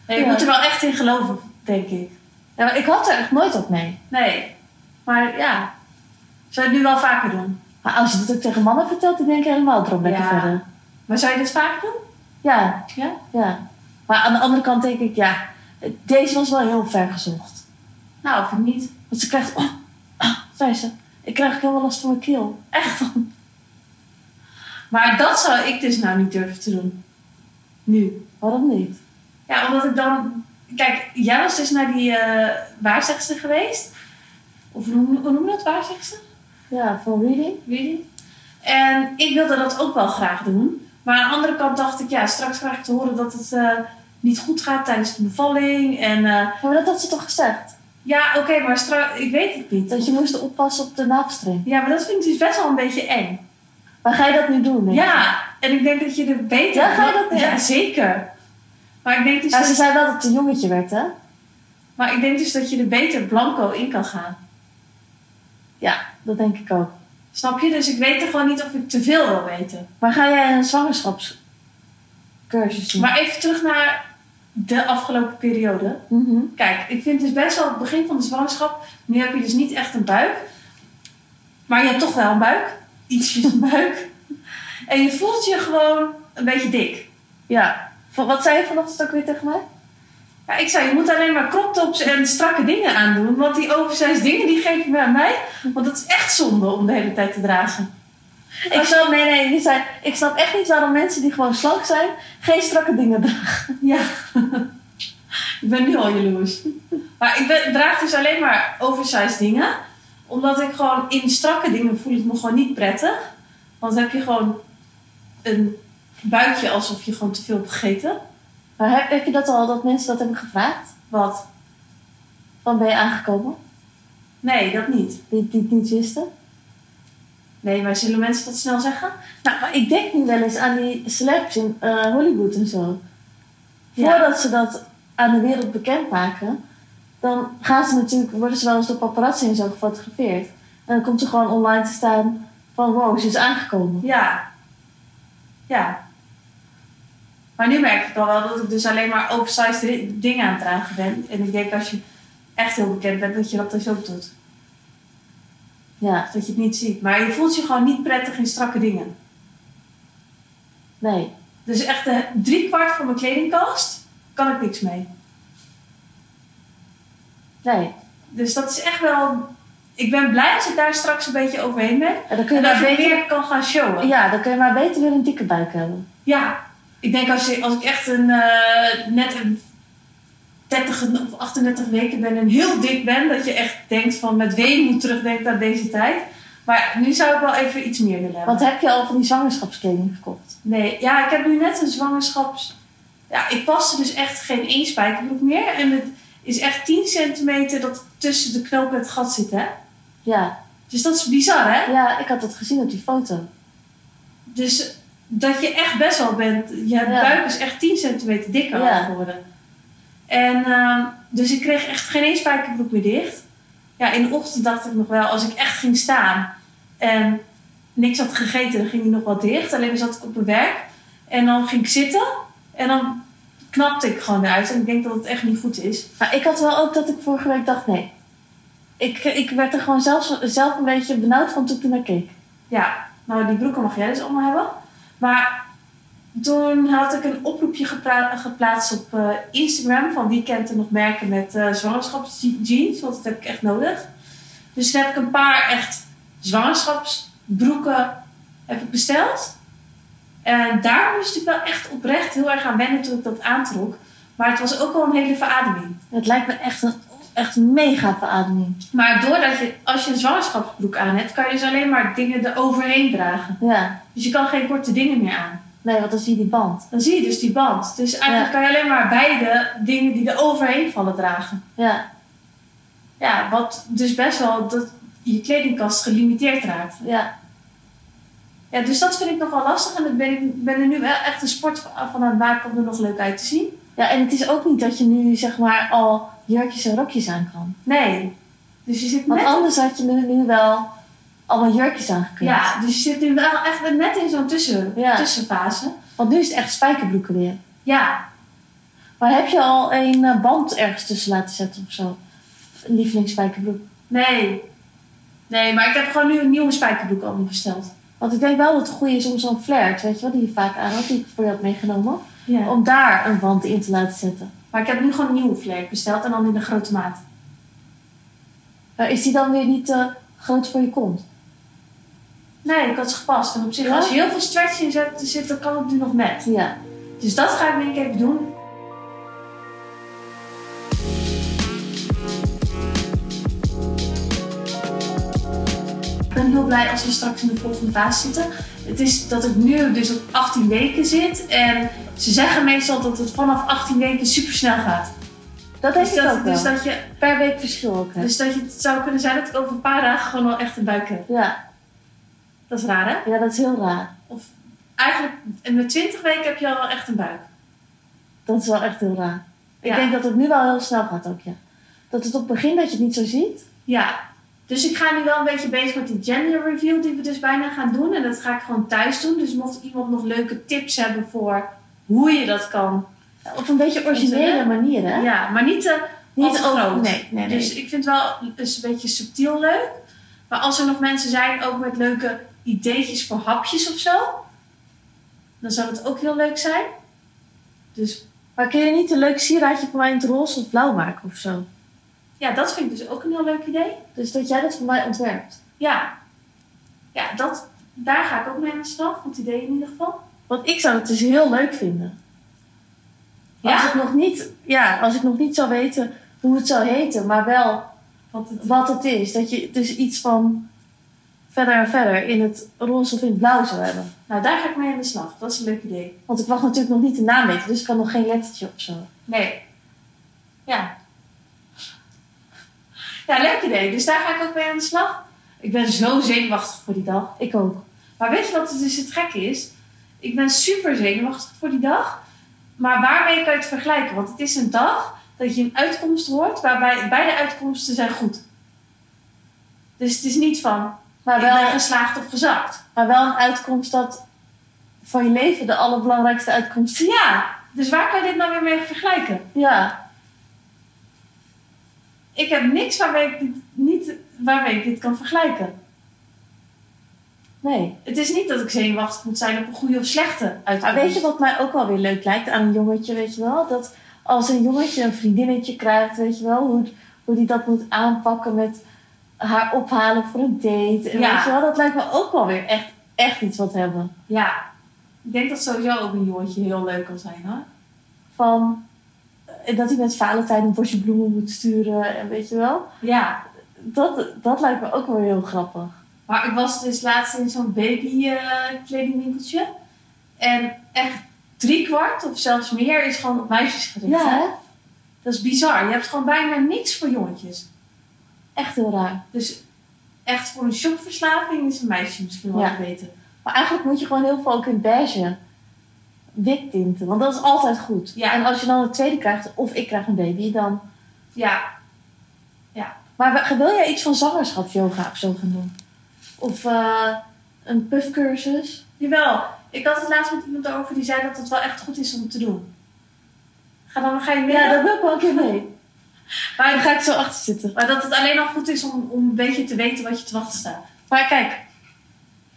Speaker 2: Nee, je
Speaker 1: Ja.
Speaker 2: moet er wel echt in geloven, denk ik.
Speaker 1: ja maar ik had er echt nooit op mee.
Speaker 2: Nee. Maar ja. Zou je het nu wel vaker doen?
Speaker 1: Maar als je dit ook tegen mannen vertelt, die denken helemaal erop lekker
Speaker 2: Ja.
Speaker 1: verder.
Speaker 2: Maar zou je dit vaker doen?
Speaker 1: Ja,
Speaker 2: Ja.
Speaker 1: ja. Maar aan de andere kant denk ik, ja, deze was wel heel ver gezocht.
Speaker 2: Nou, of ik niet.
Speaker 1: Want ze krijgt, oh, ah, zei ze, ik krijg ook helemaal last van mijn keel.
Speaker 2: Echt dan. Maar dat zou ik dus nou niet durven te doen. Nu.
Speaker 1: Waarom niet?
Speaker 2: Ja, omdat ik dan... Kijk, jij was dus naar die eh waarzegster geweest. Of hoe, hoe noem je dat, waarzegster?
Speaker 1: Ja, voor reading?
Speaker 2: Weet je? En ik wilde dat ook wel graag doen. Maar aan de andere kant dacht ik, ja, straks krijg ik te horen dat het eh, niet goed gaat tijdens de bevalling. En eh,
Speaker 1: Ja, maar dat had ze toch gezegd?
Speaker 2: ja, oké, maar straks, ik weet het niet.
Speaker 1: Dat je moest oppassen op de navelstreng.
Speaker 2: Ja, maar dat vind ik dus best wel een beetje eng.
Speaker 1: Maar ga je dat nu doen? denk je?
Speaker 2: Ja, en ik denk dat je er beter...
Speaker 1: Ja, ga je dat doen?
Speaker 2: Ja, zeker. Maar ik denk dus,
Speaker 1: Maar
Speaker 2: dat,
Speaker 1: ze zei wel dat het een jongetje werd, hè?
Speaker 2: maar ik denk dus dat je er beter blanco in kan gaan.
Speaker 1: Dat denk ik ook.
Speaker 2: Snap je? Dus ik weet er gewoon niet of ik te veel wil weten.
Speaker 1: Maar ga jij een zwangerschapscursus doen?
Speaker 2: Maar even terug naar de afgelopen periode.
Speaker 1: Mhm.
Speaker 2: Kijk, ik vind dus best wel het begin van de zwangerschap. Nu heb je dus niet echt een buik. Maar je hebt toch wel een buik. Ietsjes een buik. En je voelt je gewoon een beetje dik.
Speaker 1: Ja. Van- Wat zei je vanochtend ook weer tegen mij?
Speaker 2: Ja, ik zei, je moet alleen maar croptops en strakke dingen aandoen. Want die oversized dingen, die geef je maar aan mij. Want dat is echt zonde om de hele tijd te dragen.
Speaker 1: Ik snap, nee, nee, die zei, ik snap echt niet waarom mensen die gewoon slank zijn, geen strakke dingen dragen.
Speaker 2: Ja. ik ben nu al jaloers. Maar ik ben, draag dus alleen maar oversized dingen. Omdat ik gewoon in strakke dingen voel ik me gewoon niet prettig. Want dan heb je gewoon een buikje alsof je gewoon te veel hebt gegeten.
Speaker 1: Maar heb, heb je dat al, dat mensen dat hebben gevraagd?
Speaker 2: Wat?
Speaker 1: Van ben je aangekomen?
Speaker 2: Nee, dat niet.
Speaker 1: Die, die het niet wisten?
Speaker 2: Nee, maar zullen mensen dat snel zeggen?
Speaker 1: Nou, maar ik denk nu wel eens aan die celebs in eh, Hollywood en zo.
Speaker 2: Ja.
Speaker 1: Voordat ze dat aan de wereld bekendmaken, dan gaan ze natuurlijk, worden ze wel eens door paparazzi en zo gefotografeerd. En dan komt ze gewoon online te staan van wow, ze is aangekomen.
Speaker 2: Ja. Ja. Maar nu merk ik al wel dat ik dus alleen maar oversized ri- dingen aan het dragen ben. En ik denk als je echt heel bekend bent, dat je dat dus ook doet.
Speaker 1: Ja,
Speaker 2: Dat je het niet ziet. Maar je voelt je gewoon niet prettig in strakke dingen.
Speaker 1: nee.
Speaker 2: Dus echt eh, driekwart van mijn kledingkast kan ik niks mee.
Speaker 1: Nee.
Speaker 2: Dus dat is echt wel... Ik ben blij als ik daar straks een beetje overheen ben.
Speaker 1: En dan kun je
Speaker 2: En dat
Speaker 1: maar
Speaker 2: je
Speaker 1: beter,
Speaker 2: meer kan gaan showen.
Speaker 1: ja, dan kun je maar beter weer een dikke buik hebben.
Speaker 2: Ja, ik denk als, je, als ik echt een, eh, net een 30 of 38 weken ben en heel dik ben, dat je echt denkt van met weemoed terugdenkt aan deze tijd. Maar nu zou ik wel even iets meer willen hebben.
Speaker 1: Want heb je al van die zwangerschapskleding gekocht?
Speaker 2: Nee, ja, ik heb nu net een zwangerschaps. Ja, ik paste dus echt geen één spijkerbroek meer. En het is echt 10 centimeter dat tussen de knoop en het gat zit, hè?
Speaker 1: Ja.
Speaker 2: Dus dat is bizar, hè?
Speaker 1: ja, ik had dat gezien op die foto.
Speaker 2: Dus dat je echt best wel bent. Je
Speaker 1: Ja.
Speaker 2: buik is echt 10 centimeter dikker
Speaker 1: Ja.
Speaker 2: geworden. En ehm, dus ik kreeg echt geen één spijkerbroek meer dicht. Ja, in de ochtend dacht ik nog wel, als ik echt ging staan en niks had gegeten, dan ging die nog wel dicht. Alleen zat ik op mijn werk en dan ging ik zitten en dan knapte ik gewoon eruit. En ik denk dat het echt niet goed is.
Speaker 1: Maar ik had wel ook dat ik vorige week dacht, nee. Ik, ik werd er gewoon zelf, zelf een beetje benauwd van toen ik er naar keek.
Speaker 2: Ja, nou die broeken mag jij dus allemaal hebben. Maar toen had ik een oproepje gepla- geplaatst op eh, Instagram van wie kent er nog merken met eh zwangerschapsjeans, want dat heb ik echt nodig. Dus toen heb ik een paar echt zwangerschapsbroeken heb ik besteld. En daar moest ik wel echt oprecht heel erg aan wennen toen ik dat aantrok. Maar het was ook wel een hele verademing.
Speaker 1: Het lijkt me echt een echt een mega verademing.
Speaker 2: Maar doordat je, als je een zwangerschapsbroek aan hebt, kan je dus alleen maar dingen eroverheen dragen.
Speaker 1: Ja.
Speaker 2: Dus je kan geen korte dingen meer aan.
Speaker 1: Nee, want dan zie je die band.
Speaker 2: dan zie je dus die band. Dus eigenlijk kan je alleen maar beide dingen die er overheen vallen dragen.
Speaker 1: Ja,
Speaker 2: Ja, wat dus best wel dat je kledingkast gelimiteerd raakt.
Speaker 1: ja.
Speaker 2: Ja, dus dat vind ik nog wel lastig en dat ben ik ben er nu wel echt een sport van aan het maken om er nog leuk uit te zien.
Speaker 1: Ja, en het is ook niet dat je nu zeg maar al jurkjes en rokjes aan kan.
Speaker 2: Nee. Dus je zit
Speaker 1: Want
Speaker 2: net...
Speaker 1: anders had je nu, nu wel allemaal jurkjes aangekund.
Speaker 2: Ja, dus je zit nu wel echt net in zo'n tussen,
Speaker 1: Ja.
Speaker 2: tussenfase.
Speaker 1: Want nu is het echt spijkerbroeken weer.
Speaker 2: Ja.
Speaker 1: Maar heb je al een eh, band ergens tussen laten zetten of zo? Een lievelingsspijkerbroek.
Speaker 2: Nee. Nee, maar ik heb gewoon nu een nieuwe spijkerbroek allemaal besteld.
Speaker 1: Want ik denk wel dat het goed is om zo'n flared, weet je wel, die je vaak aan had, die ik voor je had meegenomen.
Speaker 2: Ja.
Speaker 1: Om daar een wand in te laten zetten.
Speaker 2: Maar ik heb nu gewoon een nieuwe vlek besteld en dan in de grote maat.
Speaker 1: Maar is die dan weer niet eh, groot voor je kont?
Speaker 2: Nee, ik had ze gepast. En op zich,
Speaker 1: Ja?
Speaker 2: als je heel veel stretch in zet- zit, dan kan het nu nog net.
Speaker 1: Ja.
Speaker 2: Dus dat ga ik denk ik even doen. Ik ben heel blij als we straks in de volgende fase zitten. Het is dat ik nu dus op 18 weken zit. En ze zeggen meestal dat het vanaf 18 weken super snel gaat.
Speaker 1: Dat denk
Speaker 2: Dus
Speaker 1: ik ook
Speaker 2: dat,
Speaker 1: wel.
Speaker 2: dus dat je
Speaker 1: Per week verschil ook. hè?
Speaker 2: Dus dat je, het zou kunnen zijn dat ik over een paar dagen gewoon al echt een buik heb.
Speaker 1: Ja.
Speaker 2: Dat is raar, hè?
Speaker 1: ja, dat is heel raar.
Speaker 2: Eigenlijk, in de 20 weken heb je al wel echt een buik.
Speaker 1: Dat is wel echt heel raar. Ik
Speaker 2: Ja.
Speaker 1: denk dat het nu wel heel snel gaat ook, ja. Dat het op het begin dat je het niet zo ziet.
Speaker 2: Ja. Dus ik ga nu wel een beetje bezig met die gender reveal die we dus bijna gaan doen. En dat ga ik gewoon thuis doen. Dus mocht iemand nog leuke tips hebben voor hoe je dat kan.
Speaker 1: Op een beetje originele
Speaker 2: Ontzettend.
Speaker 1: manier, hè?
Speaker 2: Ja, maar niet te
Speaker 1: Niet
Speaker 2: Als groot.
Speaker 1: over- Nee, nee, nee.
Speaker 2: Dus ik vind het wel eens een beetje subtiel leuk. Maar als er nog mensen zijn, ook met leuke ideetjes voor hapjes of zo. Dan zou dat ook heel leuk zijn. Dus
Speaker 1: Maar kun je niet een leuk sieraadje voor mij in het roze of blauw maken of zo?
Speaker 2: Ja, dat vind ik dus ook een heel leuk idee.
Speaker 1: Dus dat jij dat voor mij ontwerpt.
Speaker 2: Ja, ja dat, daar ga ik ook mee aan de slag. Goed idee in ieder geval.
Speaker 1: Want ik zou het dus heel leuk vinden.
Speaker 2: Ja?
Speaker 1: Als ik nog niet, ja, als ik nog niet zou weten hoe het zou heten, maar wel
Speaker 2: Want het,
Speaker 1: wat het is. Dat je dus iets van verder en verder in het roze of in het blauw zou hebben.
Speaker 2: nou, daar ga ik mee aan de slag. Dat is een leuk idee.
Speaker 1: Want ik wacht natuurlijk nog niet de naam weten, dus ik kan nog geen lettertje op zo.
Speaker 2: Nee. Ja. Ja, leuk idee. Dus daar ga ik ook mee aan de slag. Ik ben zo zenuwachtig voor die dag.
Speaker 1: Ik ook.
Speaker 2: Maar weet je wat het dus het gekke is? Ik ben super zenuwachtig voor die dag. Maar waarmee kan je het vergelijken? Want het is een dag dat je een uitkomst hoort waarbij beide uitkomsten zijn goed. Dus het is niet van
Speaker 1: Maar
Speaker 2: ik ben
Speaker 1: wel,
Speaker 2: geslaagd of gezakt.
Speaker 1: maar wel een uitkomst dat van je leven de allerbelangrijkste uitkomst is.
Speaker 2: Ja, dus waar kan je dit nou weer mee vergelijken?
Speaker 1: Ja,
Speaker 2: Ik heb niks waarmee ik dit, niet, waarmee ik dit kan vergelijken.
Speaker 1: nee.
Speaker 2: Het is niet dat ik zenuwachtig moet zijn op een goede of slechte
Speaker 1: Maar
Speaker 2: uitkomst.
Speaker 1: weet je wat mij ook wel weer leuk lijkt aan een jongetje, weet je wel? Dat als een jongetje een vriendinnetje krijgt, weet je wel, hoe, hoe die dat moet aanpakken met haar ophalen voor een date. En
Speaker 2: Ja.
Speaker 1: Weet je wel, dat lijkt me ook wel weer echt, echt iets wat hebben.
Speaker 2: Ja, ik denk dat sowieso ook een jongetje heel leuk kan zijn hoor.
Speaker 1: Van eh, dat hij met Valentijn een bosje bloemen moet sturen en weet je wel.
Speaker 2: Ja,
Speaker 1: Dat, dat lijkt me ook wel heel grappig.
Speaker 2: Maar ik was dus laatst in zo'n baby eh, kledingwinkeltje. En echt drie kwart of zelfs meer is gewoon op meisjes gericht.
Speaker 1: Ja,
Speaker 2: hè?
Speaker 1: hè?
Speaker 2: Dat is bizar. Je hebt gewoon bijna niks voor jongetjes.
Speaker 1: Echt heel raar.
Speaker 2: Dus echt voor een shockverslaving is een meisje misschien wel
Speaker 1: Ja.
Speaker 2: beter.
Speaker 1: Maar eigenlijk moet je gewoon heel veel ook in beige wit tinten, want dat is altijd goed.
Speaker 2: Ja.
Speaker 1: En als je dan een tweede krijgt, of ik krijg een baby, dan
Speaker 2: Ja,
Speaker 1: Maar wa- wil jij iets van zwangerschap yoga of zo gaan doen? Of eh, een puffcursus?
Speaker 2: jawel. Ik had het laatst met iemand over die zei dat het wel echt goed is om te doen. Ga dan, ga je mee?
Speaker 1: Ja, daar wil ik wel een keer mee. Daar
Speaker 2: maar,
Speaker 1: ga ik zo achter zitten.
Speaker 2: maar dat het alleen al goed is om, om een beetje te weten wat je te wachten staat.
Speaker 1: Maar kijk,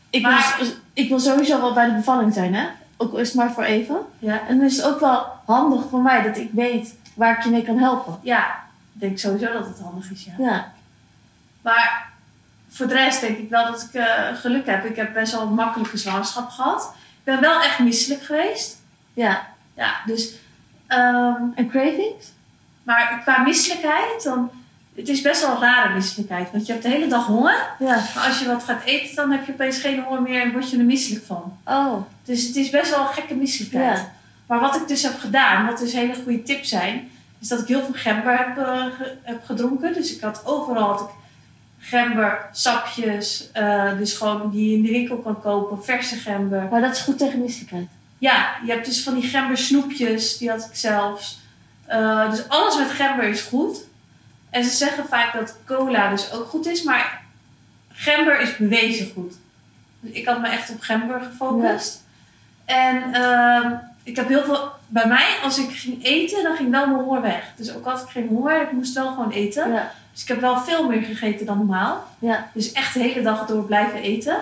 Speaker 1: ik,
Speaker 2: Maar-
Speaker 1: wil, ik wil sowieso wel bij de bevalling zijn, hè? Ook al is het maar voor even.
Speaker 2: Ja.
Speaker 1: En dan is het ook wel handig voor mij dat ik weet waar ik je mee kan helpen.
Speaker 2: Ja, ik denk sowieso dat het handig is, ja.
Speaker 1: Ja,
Speaker 2: Maar voor de rest denk ik wel dat ik eh, geluk heb. Ik heb best wel een makkelijke zwangerschap gehad. Ik ben wel echt misselijk geweest.
Speaker 1: ja.
Speaker 2: Ja, dus... ehm,
Speaker 1: En cravings?
Speaker 2: maar qua misselijkheid, dan... Het is best wel een rare misselijkheid. Want je hebt de hele dag honger.
Speaker 1: Ja.
Speaker 2: Maar als je wat gaat eten, dan heb je opeens geen honger meer en word je er misselijk van.
Speaker 1: Oh,
Speaker 2: Dus het is best wel een gekke misselijkheid.
Speaker 1: Ja.
Speaker 2: Maar wat ik dus heb gedaan, wat dus hele goede tips zijn... is dat ik heel veel gember heb, eh, ge- heb gedronken. Dus ik had overal had ik gember, sapjes. eh, dus gewoon die je in de winkel kan kopen. Verse gember.
Speaker 1: maar dat is goed tegen misselijkheid.
Speaker 2: Ja, je hebt dus van die gember snoepjes. Die had ik zelfs. Eh, dus alles met gember is goed. En ze zeggen vaak dat cola dus ook goed is, maar gember is bewezen goed. Dus ik had me echt op gember gefocust. En ehm, ik heb heel veel. Bij mij, als ik ging eten, dan ging wel mijn honger weg. Dus ook als ik geen honger, ik moest wel gewoon eten.
Speaker 1: Ja.
Speaker 2: Dus ik heb wel veel meer gegeten dan normaal.
Speaker 1: Ja.
Speaker 2: Dus echt de hele dag door blijven eten.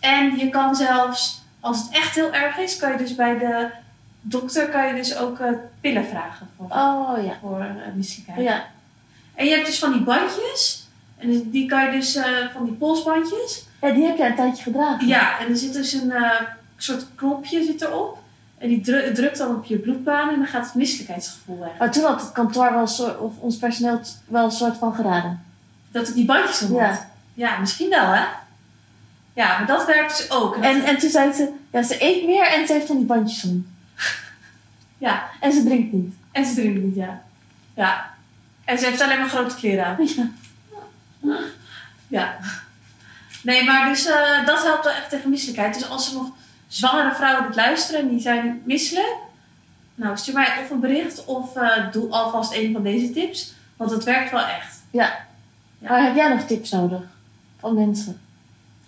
Speaker 2: En je kan zelfs, als het echt heel erg is, kan je dus bij de dokter kan je dus ook eh, pillen vragen voor,
Speaker 1: Oh ja.
Speaker 2: voor eh, misselijkheid.
Speaker 1: Ja.
Speaker 2: En je hebt dus van die bandjes. En die kan je dus, eh, van die polsbandjes.
Speaker 1: ja, die heb jij een tijdje gedragen.
Speaker 2: Ja, en er zit dus een eh, soort knopje zit erop. En die dru- drukt dan op je bloedbaan en dan gaat het misselijkheidsgevoel weg.
Speaker 1: Maar toen had het kantoor wel een soort, of ons personeel t- wel een soort van geraden.
Speaker 2: Dat het die bandjes om had.
Speaker 1: Ja.
Speaker 2: Ja, misschien wel hè. Ja, maar dat werkt dus ook. En dat-
Speaker 1: En, en toen zei ze, ja, ze eet meer en ze heeft van die bandjes om.
Speaker 2: Ja.
Speaker 1: En ze drinkt niet.
Speaker 2: En ze drinkt niet, ja. Ja. En ze heeft alleen maar grote kleren aan.
Speaker 1: Ja.
Speaker 2: Ja. Nee, maar dus eh, dat helpt wel echt tegen misselijkheid. Dus als er nog zwangere vrouwen dit luisteren en die zijn misselijk, nou stuur mij of een bericht of eh, doe alvast een van deze tips, want dat werkt wel echt. Ja.
Speaker 1: Maar heb jij nog tips nodig? Van mensen?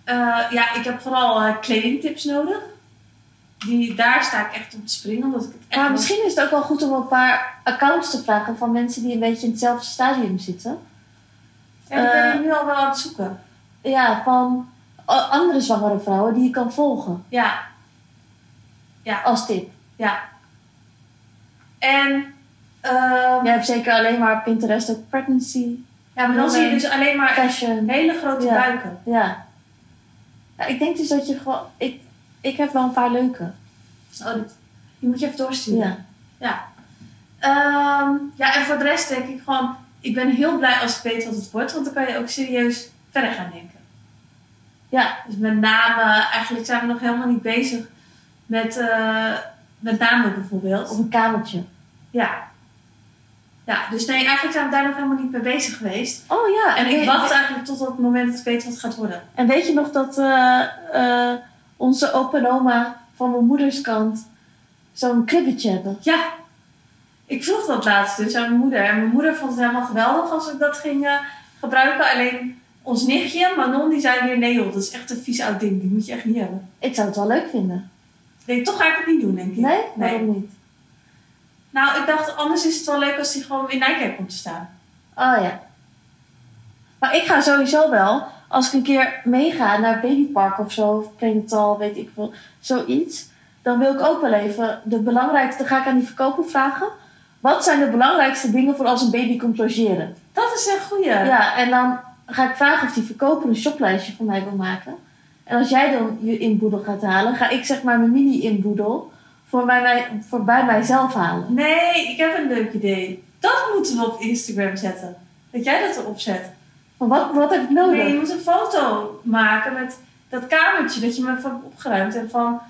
Speaker 2: Eh, ja, ik heb vooral eh, kledingtips nodig. Die, daar sta ik echt op te springen, omdat ik het echt.
Speaker 1: Maar
Speaker 2: nog-
Speaker 1: Ah, misschien is het ook wel goed om een paar accounts te vragen van mensen die een beetje in hetzelfde stadium zitten.
Speaker 2: Ja, ik ben
Speaker 1: eh,
Speaker 2: je nu al wel aan het zoeken.
Speaker 1: Ja, van a- andere zwangere vrouwen die je kan volgen
Speaker 2: Ja.
Speaker 1: als tip.
Speaker 2: En ehm,
Speaker 1: Jij hebt zeker alleen maar op Pinterest ook pregnancy,
Speaker 2: ja, maar dan zie je dus alleen maar echt
Speaker 1: fashion.
Speaker 2: hele grote
Speaker 1: Ja.
Speaker 2: buiken.
Speaker 1: Ja. ja. Ik denk dus dat je gewoon... Ik, ik heb wel een paar leuke.
Speaker 2: Oh, dat- die moet je even doorsturen.
Speaker 1: Ja.
Speaker 2: Ehm, ja, en voor de rest denk ik gewoon, ik ben heel blij als ik weet wat het wordt, want dan kan je ook serieus verder gaan denken.
Speaker 1: Ja.
Speaker 2: Dus met name, eigenlijk zijn we nog helemaal niet bezig met, eh, met namen
Speaker 1: Of
Speaker 2: bijvoorbeeld.
Speaker 1: een kamertje.
Speaker 2: Ja. Ja, dus nee, eigenlijk zijn we daar nog helemaal niet mee bezig geweest.
Speaker 1: Oh ja.
Speaker 2: En ik
Speaker 1: weet-
Speaker 2: wacht eigenlijk tot het moment dat ik weet wat het gaat worden.
Speaker 1: En weet je nog dat eh, eh, onze opa en oma van mijn moeders kant zo'n kribbetje hebben?
Speaker 2: Ja, ik vroeg dat laatst dus aan mijn moeder. En mijn moeder vond het helemaal geweldig als ik dat ging eh, gebruiken. Alleen ons nichtje, Manon, die zei weer... Nee joh, dat is echt een vies oud ding. Die moet je echt niet hebben.
Speaker 1: Ik zou het wel leuk vinden.
Speaker 2: Nee, toch ga ik het niet doen, denk ik.
Speaker 1: Nee? Waarom niet?
Speaker 2: Nou, ik dacht, anders is het wel leuk als die gewoon in Nijkerk komt te staan.
Speaker 1: Oh ja. Maar ik ga sowieso wel, als ik een keer meega naar babypark of zo, of prenatal, weet ik veel, zoiets, dan wil ik ook wel even de belangrijkste, dan ga ik aan die verkoper vragen, wat zijn de belangrijkste dingen voor als een baby komt logeren?
Speaker 2: Dat is een goeie.
Speaker 1: Ja, en dan ga ik vragen of die verkoper een shoplijstje voor mij wil maken. En als jij dan je inboedel gaat halen, ga ik zeg maar mijn mini-inboedel voor, bij mij, voor bij mijzelf halen.
Speaker 2: Nee, ik heb een leuk idee. Dat moeten we op Instagram zetten. Dat jij dat erop zet.
Speaker 1: Maar wat, wat heb ik nodig?
Speaker 2: Nee, je moet een foto maken met dat kamertje dat je me van hebt opgeruimd. En van,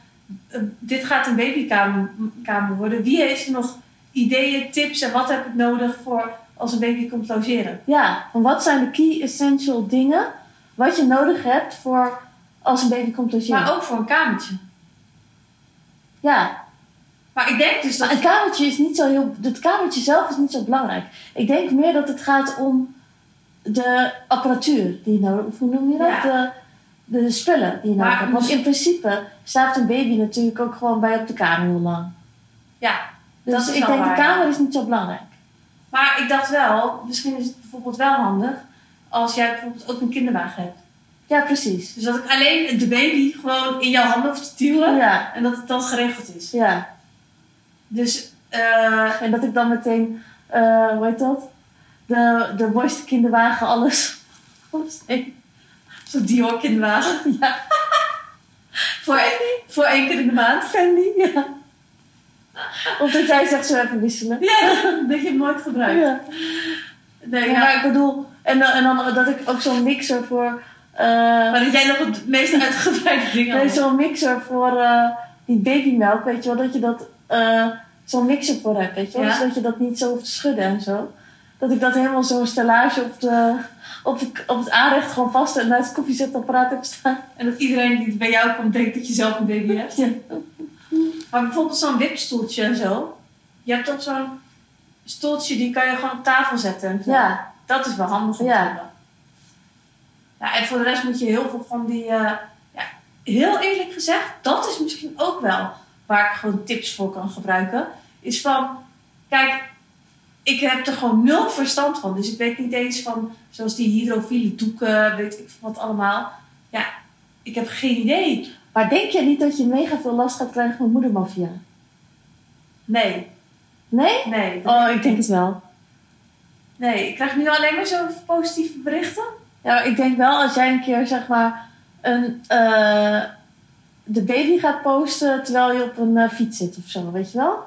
Speaker 2: eh, dit gaat een babykamer kamer worden. Wie heeft er nog ideeën, tips en wat heb ik nodig voor als een baby komt logeren?
Speaker 1: Ja, van wat zijn de key essential dingen wat je nodig hebt voor als een baby komt logeren?
Speaker 2: Maar ook voor een kamertje.
Speaker 1: Ja,
Speaker 2: Maar ik denk dus
Speaker 1: maar
Speaker 2: dat...
Speaker 1: een kamertje is niet zo heel. Het kamertje zelf is niet zo belangrijk. Ik denk meer dat het gaat om de apparatuur die je nodig hebt. Hoe noem je dat?
Speaker 2: Ja.
Speaker 1: De, de spullen die je nodig
Speaker 2: Maar
Speaker 1: hebt. Want
Speaker 2: misschien-
Speaker 1: in principe slaapt een baby natuurlijk ook gewoon bij op de kamer heel lang.
Speaker 2: Ja,
Speaker 1: Dus
Speaker 2: Dat is
Speaker 1: ik
Speaker 2: wel
Speaker 1: denk
Speaker 2: waar,
Speaker 1: de
Speaker 2: ja.
Speaker 1: kamer is niet zo belangrijk.
Speaker 2: maar ik dacht wel, misschien is het bijvoorbeeld wel handig als jij bijvoorbeeld ook een kinderwagen hebt.
Speaker 1: Ja, precies.
Speaker 2: Dus dat ik alleen de baby gewoon in jouw handen hoef te duwen
Speaker 1: Ja,
Speaker 2: en dat het dan geregeld is.
Speaker 1: ja.
Speaker 2: Dus eh,
Speaker 1: En dat ik dan meteen, eh hoe heet dat? De, de mooiste kinderwagen, alles. Nee.
Speaker 2: zo'n Dior kinderwagen.
Speaker 1: Ja.
Speaker 2: voor, voor één keer in de maand.
Speaker 1: Fendi, ja. Of dat jij zegt, zo even wisselen.
Speaker 2: Ja, dat je het nooit gebruikt.
Speaker 1: Ja.
Speaker 2: Nee,
Speaker 1: Ja,
Speaker 2: maar,
Speaker 1: maar ik bedoel, en, dan- en dan dat ik ook zo'n mixer voor... eh,
Speaker 2: maar dat jij nog het meest uitgebreide ding
Speaker 1: nee,
Speaker 2: had.
Speaker 1: zo'n mixer voor eh, die babymelk, weet je wel, dat je dat... eh, zo'n mixer voor hebt, weet je wel,
Speaker 2: Ja.
Speaker 1: zodat je dat niet zo hoeft te schudden en zo. Dat ik dat helemaal zo'n stellage op, de, op, de- op het aanrecht gewoon vast en naast het koffiezetapparaat heb staan.
Speaker 2: En dat iedereen die bij jou komt denkt dat je zelf een baby hebt.
Speaker 1: Ja.
Speaker 2: Maar bijvoorbeeld zo'n wipstoeltje en zo. Je hebt toch zo'n stoeltje, die kan je gewoon op tafel zetten. en zo.
Speaker 1: Ja,
Speaker 2: Dat is wel handig om
Speaker 1: Ja.
Speaker 2: te hebben. Ja, en voor de rest moet je heel veel van die... eh, ja, heel eerlijk gezegd, dat is misschien ook wel waar ik gewoon tips voor kan gebruiken. Is van, kijk, ik heb er gewoon nul verstand van. Dus ik weet niet eens van, zoals die hydrofiele doeken, weet ik wat allemaal. Ja, ik heb geen idee.
Speaker 1: maar denk je niet dat je mega veel last gaat krijgen van moedermafia?
Speaker 2: Nee,
Speaker 1: Nee?
Speaker 2: nee.
Speaker 1: Oh, ik denk het wel.
Speaker 2: Nee, ik krijg nu alleen maar zo positieve berichten.
Speaker 1: Ja, maar ik denk wel als jij een keer zeg maar een, eh, de baby gaat posten terwijl je op een eh, fiets zit of zo, weet je wel?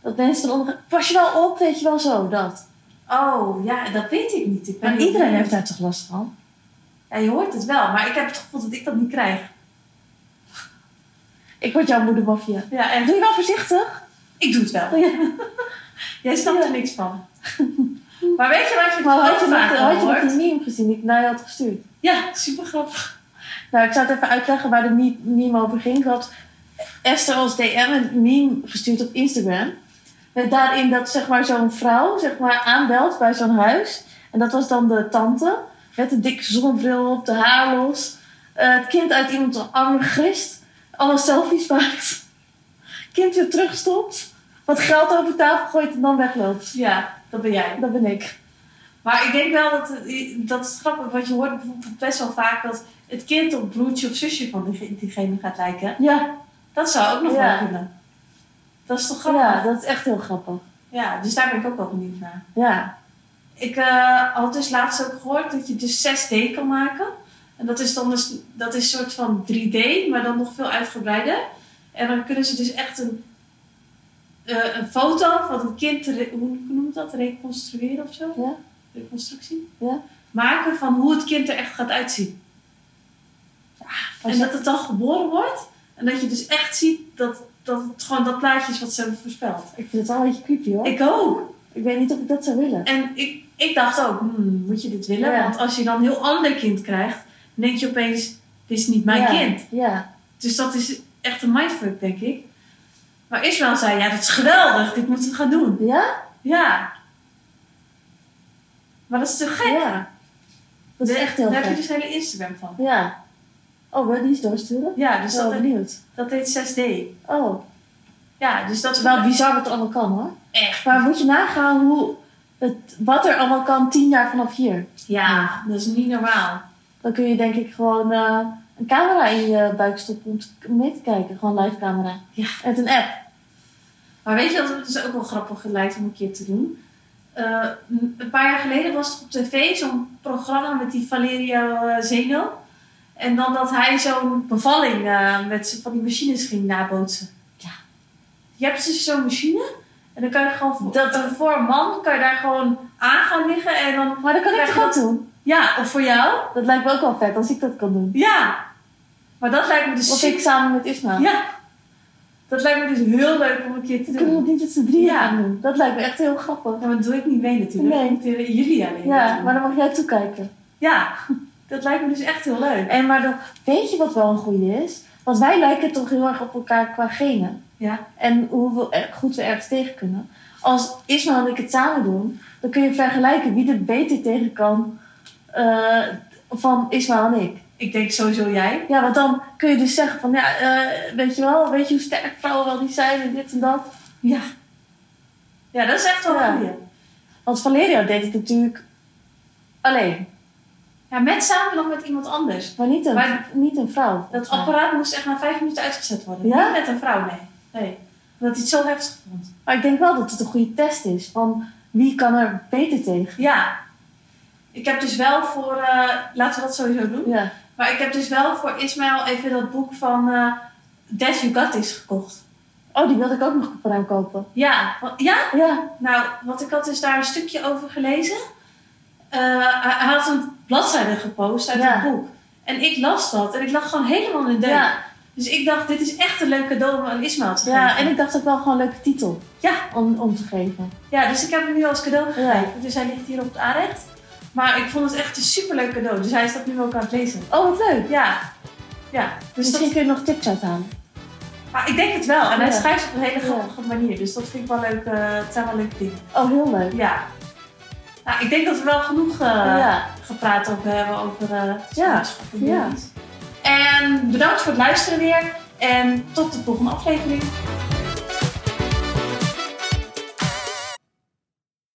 Speaker 1: Dat mensen dan onder... Pas je wel op, weet je wel zo, dat.
Speaker 2: Oh, ja, dat weet ik niet. Ik ben
Speaker 1: Maar
Speaker 2: niet-
Speaker 1: iedereen heeft daar toch last van?
Speaker 2: Ja, je hoort het wel, maar ik heb het gevoel dat ik dat niet krijg.
Speaker 1: Ik word jouw moedermafia.
Speaker 2: Ja, en
Speaker 1: Doe je wel voorzichtig?
Speaker 2: ik doe het wel.
Speaker 1: Ja.
Speaker 2: Jij snapt er
Speaker 1: Ja.
Speaker 2: niks van. maar weet je wat je
Speaker 1: Maar
Speaker 2: het
Speaker 1: had je,
Speaker 2: vaak
Speaker 1: nog, had je nog
Speaker 2: hoort?
Speaker 1: die meme gezien die ik naar je had gestuurd?
Speaker 2: Ja, super grappig.
Speaker 1: Nou, ik zou het even uitleggen waar de mie- meme over ging. Ik had Esther als DM een meme gestuurd op Instagram. Met daarin dat zeg maar, zo'n vrouw zeg maar, aanbelt bij zo'n huis. En dat was dan de tante. Met een dikke zonnebril op, de haar los. Eh, het kind uit iemands armen grist. Allemaal selfies maakt. Kind weer terugstopt. Wat geld over tafel gooit en dan wegloopt.
Speaker 2: Ja, dat ben jij.
Speaker 1: Dat ben ik.
Speaker 2: Maar ik denk wel dat, het- dat is grappig, want je hoort bijvoorbeeld best wel vaak dat het kind op broertje of zusje van diege- diegene gaat lijken.
Speaker 1: Ja,
Speaker 2: Dat zou ook nog
Speaker 1: Ja.
Speaker 2: wel kunnen. Dat is toch grappig?
Speaker 1: ja,
Speaker 2: Ja,
Speaker 1: dat is echt heel grappig.
Speaker 2: dus daar ben ik ook wel benieuwd naar.
Speaker 1: Ja,
Speaker 2: Ik eh, had dus laatst ook gehoord dat je dus 6D kan maken. En dat is dan dus, dat is een soort van 3D, maar dan nog veel uitgebreider. En dan kunnen ze dus echt een, eh, een foto van het kind, re- hoe noem je dat, reconstrueren of zo?
Speaker 1: Ja.
Speaker 2: Reconstructie?
Speaker 1: Ja.
Speaker 2: Maken van hoe het kind er echt gaat uitzien.
Speaker 1: als
Speaker 2: en
Speaker 1: je-
Speaker 2: dat het dan geboren wordt. En dat je dus echt ziet dat, dat het gewoon dat plaatje is wat ze hebben voorspeld.
Speaker 1: ik vind het wel een beetje creepy hoor.
Speaker 2: Ik ook.
Speaker 1: ik weet niet of ik dat zou willen.
Speaker 2: En ik, ik dacht ook, hmm, moet je dit willen?
Speaker 1: Ja.
Speaker 2: Want als je dan een heel ander kind krijgt, dan denk je opeens, dit is niet mijn
Speaker 1: ja,
Speaker 2: kind.
Speaker 1: Ja.
Speaker 2: Dus dat is echt een mindfuck, denk ik. Maar Israël zei, ja, dat is geweldig, dit moeten we gaan doen.
Speaker 1: Ja?
Speaker 2: Ja. Maar dat is te gek.
Speaker 1: Ja. Dat is
Speaker 2: Daar-
Speaker 1: echt heel
Speaker 2: Daar heb
Speaker 1: gek.
Speaker 2: je dus hele Instagram van.
Speaker 1: Ja. Oh, wil je die eens doorsturen?
Speaker 2: Ja,
Speaker 1: Ik
Speaker 2: dus
Speaker 1: ben wel
Speaker 2: dat,
Speaker 1: benieuwd.
Speaker 2: dat heet 6D.
Speaker 1: Oh,
Speaker 2: Ja, dus dat
Speaker 1: het
Speaker 2: is
Speaker 1: is wel bizar wat er allemaal kan hoor.
Speaker 2: echt.
Speaker 1: Maar moet je nagaan hoe het, wat er allemaal kan tien jaar vanaf hier.
Speaker 2: Ja, dat is niet normaal.
Speaker 1: Dan kun je denk ik gewoon eh, een camera in je buik stoppen om te- mee te kijken. Gewoon live camera.
Speaker 2: Ja.
Speaker 1: Met een app.
Speaker 2: Maar weet je wat het dus ook wel grappig lijkt om een keer te doen? Eh, m- een paar jaar geleden was het op tv zo'n programma met die Valerio eh, Zeno. En dan dat hij zo'n bevalling eh, met z'n- van die machines ging nabootsen.
Speaker 1: Ja.
Speaker 2: Je hebt dus zo'n machine en dan kan je gewoon voor,
Speaker 1: Dat-
Speaker 2: eh, voor een man kan je daar gewoon aan gaan liggen en dan
Speaker 1: Maar dat kan ik
Speaker 2: Krijg
Speaker 1: toch
Speaker 2: je
Speaker 1: ook doen?
Speaker 2: ja of voor jou
Speaker 1: Dat lijkt me ook wel vet als ik dat kan doen.
Speaker 2: ja. Maar dat lijkt me dus
Speaker 1: Of ik samen met Isma.
Speaker 2: ja. Dat lijkt me dus heel leuk om een keer te
Speaker 1: Dan kunnen we
Speaker 2: doen.
Speaker 1: het niet met z'n drieën
Speaker 2: Ja.
Speaker 1: gaan doen. Dat lijkt me echt heel grappig.
Speaker 2: Ja, Oh, maar dat doe ik niet mee natuurlijk.
Speaker 1: Nee.
Speaker 2: Dat moeten jullie alleen
Speaker 1: Ja,
Speaker 2: doen.
Speaker 1: maar dan mag jij toekijken.
Speaker 2: Ja, dat lijkt me dus echt heel leuk.
Speaker 1: En maar dan, weet je wat wel een goede is? Want wij lijken toch heel erg op elkaar qua genen.
Speaker 2: Ja.
Speaker 1: En hoe we, er- goed we ergens tegen kunnen. Als Ismael en ik het samen doen, dan kun je vergelijken wie er beter tegen kan eh, van Ismael en ik.
Speaker 2: Ik denk sowieso jij.
Speaker 1: Ja, want dan kun je dus zeggen van, ja, eh, weet je wel, weet je hoe sterk vrouwen wel niet zijn en dit en dat.
Speaker 2: Ja. Ja, dat is echt wel
Speaker 1: Ja.
Speaker 2: een goeie.
Speaker 1: Want Valerio deed het natuurlijk alleen,
Speaker 2: Ja, met samen dan met iemand anders.
Speaker 1: maar niet een,
Speaker 2: Maar-
Speaker 1: niet een vrouw.
Speaker 2: Dat apparaat moest echt na vijf minuten uitgezet worden.
Speaker 1: Ja?
Speaker 2: Niet met een vrouw, nee. Nee. Omdat hij het zo heftig vond.
Speaker 1: Maar ik denk wel dat het een goede test is van wie kan er beter tegen.
Speaker 2: Ja. Ik heb dus wel voor... eh, laten we dat sowieso doen.
Speaker 1: Ja.
Speaker 2: Maar ik heb dus wel voor Ismaël even dat boek van... eh That You Got Is gekocht.
Speaker 1: Oh, die wilde ik ook nog voor hem kopen.
Speaker 2: Ja. wa- Ja?
Speaker 1: Ja,
Speaker 2: Nou, want ik had dus daar een stukje over gelezen. Eh, hij hij had een bladzijde gepost uit
Speaker 1: Ja.
Speaker 2: een boek. En ik las dat en ik lag gewoon helemaal in deuk.
Speaker 1: ja,
Speaker 2: Dus ik dacht, dit is echt een leuk cadeau om aan Ismaël te geven.
Speaker 1: ja, en ik dacht ook wel gewoon een leuke titel
Speaker 2: ja,
Speaker 1: om, om te geven.
Speaker 2: ja, dus ik heb hem nu als cadeau
Speaker 1: Ja.
Speaker 2: gegeven. Dus hij ligt hier op het aanrecht. Maar ik vond het echt een superleuk cadeau. Dus hij is dat nu ook aan het lezen.
Speaker 1: Oh, wat leuk.
Speaker 2: Ja, ja. Dus
Speaker 1: Misschien
Speaker 2: dat,
Speaker 1: kun je nog tips uithalen.
Speaker 2: Maar ik denk het wel. En hij
Speaker 1: Ja.
Speaker 2: schrijft het op een hele
Speaker 1: Ja.
Speaker 2: grappige manier. Dus dat vind ik wel leuk. eh, het zijn wel leuke dingen.
Speaker 1: Oh, heel leuk.
Speaker 2: Ja. Nou, ik denk dat we wel genoeg eh,
Speaker 1: ja.
Speaker 2: gepraat over hebben over eh
Speaker 1: Ja.
Speaker 2: zwangerschap en
Speaker 1: Ja.
Speaker 2: baby's. En bedankt voor het luisteren weer. En tot de volgende aflevering.